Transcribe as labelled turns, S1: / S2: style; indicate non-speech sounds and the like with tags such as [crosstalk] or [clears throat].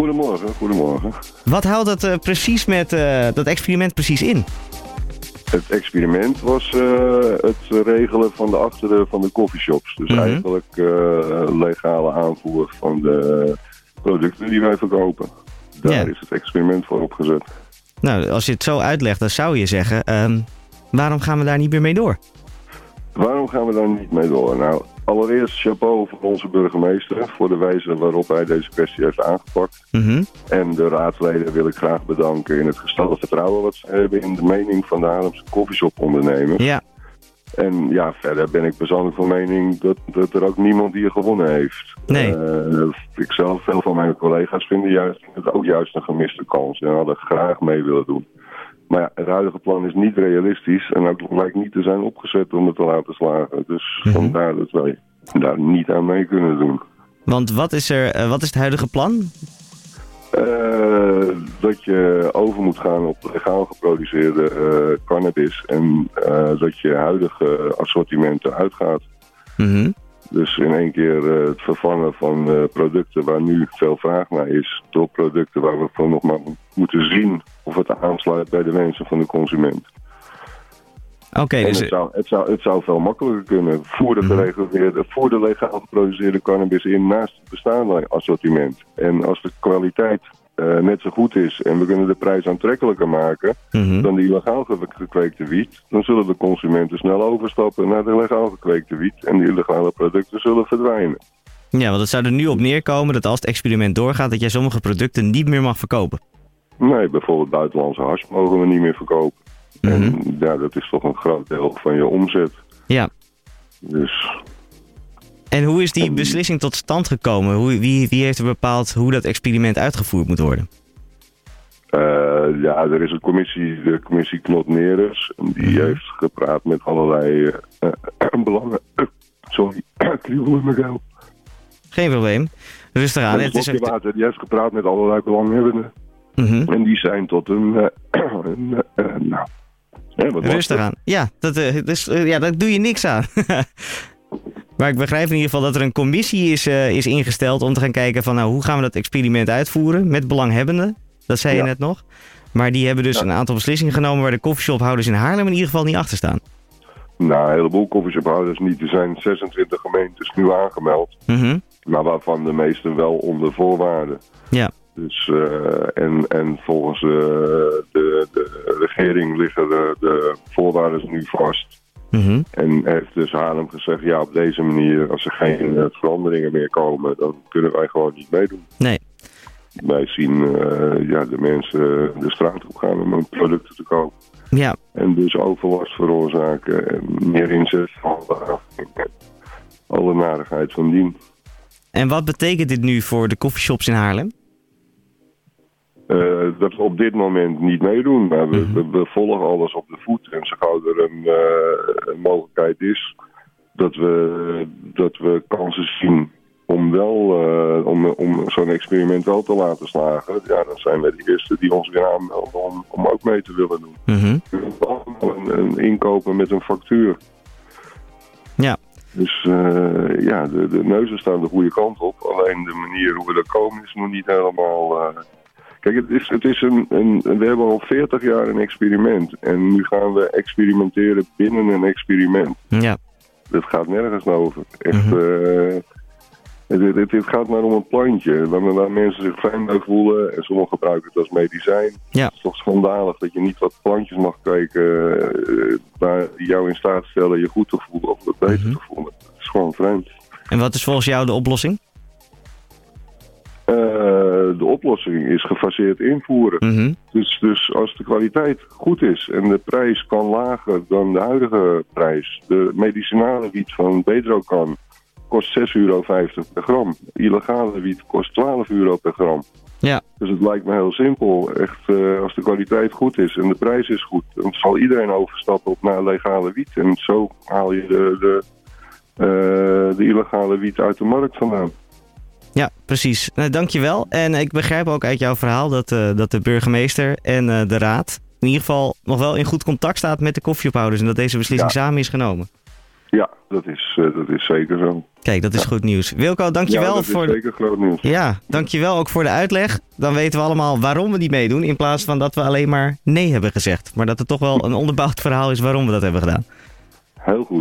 S1: Goedemorgen, goedemorgen.
S2: Wat houdt dat, eh, precies met, eh, dat experiment precies in?
S1: Het experiment was eh, het regelen van de achteren van de coffeeshops. Dus
S2: Mhm.
S1: eigenlijk eh, legale aanvoer van de producten die wij verkopen. Daar
S2: Ja.
S1: is het experiment voor opgezet.
S2: Nou, als je het zo uitlegt, dan zou je zeggen... ehm, waarom gaan we daar niet meer mee door?
S1: Waarom gaan we daar niet mee door? Nou, allereerst chapeau voor onze burgemeester voor de wijze waarop hij deze kwestie heeft aangepakt.
S2: Mhm.
S1: En de raadsleden wil ik graag bedanken in het gestelde vertrouwen wat ze hebben in de mening van de Haarlemse coffeeshop-ondernemer.
S2: Ja,
S1: En ja, verder ben ik persoonlijk van mening dat, dat er ook niemand hier gewonnen heeft.
S2: Nee.
S1: Eh, ik zelf, veel van mijn collega's vinden juist, het ook juist een gemiste kans en hadden graag mee willen doen. Maar ja, het huidige plan is niet realistisch en ook lijkt niet te zijn opgezet om het te laten slagen. Dus vandaar dat wij daar niet aan mee kunnen doen.
S2: want wat is, er, eh, wat is het huidige plan?
S1: Eh, dat je over moet gaan op legaal geproduceerde eh, cannabis en eh, dat je huidige assortimenten uitgaat.
S2: Mhm.
S1: Dus in één keer eh, het vervangen van eh, producten waar nu veel vraag naar is, door producten waar we van nog maar moeten zien of het aansluit bij de wensen van de consument.
S2: Oké,
S1: En
S2: dus...
S1: het, Mhm. zou, het, zou, het zou veel makkelijker kunnen. Voer de, gereguleerde, voer de legaal geproduceerde cannabis in naast het bestaande assortiment. En als de kwaliteit eh, net zo goed is en we kunnen de prijs aantrekkelijker maken
S2: Mhm.
S1: dan de illegaal ge- gekweekte wiet, dan zullen de consumenten snel overstappen naar de legaal gekweekte wiet en de illegale producten zullen verdwijnen.
S2: Ja, want het zou er nu op neerkomen dat als het experiment doorgaat... dat jij sommige producten niet meer mag verkopen.
S1: Nee, bijvoorbeeld buitenlandse hars mogen we niet meer verkopen. En
S2: Mhm.
S1: ja, dat is toch een groot deel van je omzet.
S2: Ja.
S1: Dus
S2: En hoe is die beslissing tot stand gekomen? Hoe, wie, wie heeft er bepaald hoe dat experiment uitgevoerd moet worden?
S1: eh, ja, er is een commissie, de commissie Knot Neres. En die
S2: Mhm.
S1: heeft gepraat met allerlei eh, [clears throat] belangen. sorry, [clears throat] ik kriebel in mijn keel.
S2: Geen probleem. Rustig aan.
S1: Een
S2: Ah, Het is
S1: slokje
S2: echt...
S1: water. Die heeft gepraat met allerlei belanghebbenden.
S2: Mhm.
S1: En die zijn tot een... eh, [clears throat] een, eh, nou, hè, wat was
S2: Rustig
S1: dat?
S2: aan. Ja, dat, eh, dus, eh, ja, daar doe je niks aan. [laughs] maar ik begrijp in ieder geval dat er een commissie is, eh, is ingesteld om te gaan kijken van nou, hoe gaan we dat experiment uitvoeren met belanghebbenden. Dat zei je
S1: Ja.
S2: net nog. Maar die hebben dus een aantal beslissingen genomen waar de koffieshophouders in Haarlem in ieder geval niet achter staan.
S1: Nou, een heleboel koffieshophouders niet. Er zijn 26 gemeentes nu aangemeld.
S2: Mhm.
S1: Maar waarvan de meesten wel onder voorwaarden.
S2: Ja.
S1: Dus, eh, en, en volgens eh, de, de regering liggen de, de voorwaarden nu vast.
S2: Mhm.
S1: En heeft dus Haarlem gezegd, ja op deze manier, als er geen eh, veranderingen meer komen, dan kunnen wij gewoon niet meedoen.
S2: Nee.
S1: Wij zien eh, ja, de mensen de straat op gaan om hun producten te kopen.
S2: Ja.
S1: En dus overlast veroorzaken en meer inzet van eh, alle narigheid van dien.
S2: En wat betekent dit nu voor de koffieshops in Haarlem?
S1: Eh, dat we op dit moment niet meedoen. Maar we, we, we volgen alles op de voet. En zo gauw er een, eh, een mogelijkheid is dat we, dat we kansen zien om, wel, eh, om, om zo'n experiment wel te laten slagen. Ja, dan zijn we de eerste die ons weer aanmelden om, om ook mee te willen doen.
S2: Mhm.
S1: We willen allemaal een, een inkopen met een factuur.
S2: Ja.
S1: Dus eh, ja, de, de neuzen staan de goede kant op. Alleen de manier hoe we er komen is nog niet helemaal. eh, Kijk, het is, het is een, een. We hebben al 40 jaar een experiment. En nu gaan we experimenteren binnen een experiment.
S2: Ja.
S1: Dat gaat nergens over. Echt. eh, het, het, het- het gaat maar om een plantje. Waar, waar mensen zich fijn bij voelen. En sommigen gebruiken het als medicijn.
S2: Ja.
S1: Het is toch schandalig dat je niet wat plantjes mag kweken. eh, waar die jou in staat stellen je goed te voelen of wat beter te voelen. Het is gewoon vreemd.
S2: En wat is volgens jou de oplossing?
S1: Eh, de oplossing is gefaseerd invoeren.
S2: Mhm.
S1: Dus, dus als de kwaliteit goed is en de prijs kan lager dan de huidige prijs. De medicinale wiet van Bedrocan kost 6,50 euro per gram. Illegale wiet kost 12 euro per gram.
S2: Ja.
S1: Dus het lijkt me heel simpel. Echt, eh, als de kwaliteit goed is en de prijs is goed, dan zal iedereen overstappen op naar legale wiet. En zo haal je de, de, eh, de illegale wiet uit de markt vandaan.
S2: Ja, precies. Nou, dankjewel. En ik begrijp ook uit jouw verhaal dat, eh, dat de burgemeester en eh, de raad in ieder geval nog wel in goed contact staat met de koffieophouders en dat deze beslissing samen is genomen.
S1: Ja, dat is, eh, dat is zeker zo.
S2: Kijk, dat is goed nieuws. Wilco, dankjewel
S1: ja, dat
S2: voor.
S1: is zeker groot nieuws.
S2: Ja, dankjewel ook voor de uitleg. Dan weten we allemaal waarom we die meedoen. In plaats van dat we alleen maar nee hebben gezegd. Maar dat het toch wel een onderbouwd verhaal is waarom we dat hebben gedaan.
S1: Heel goed.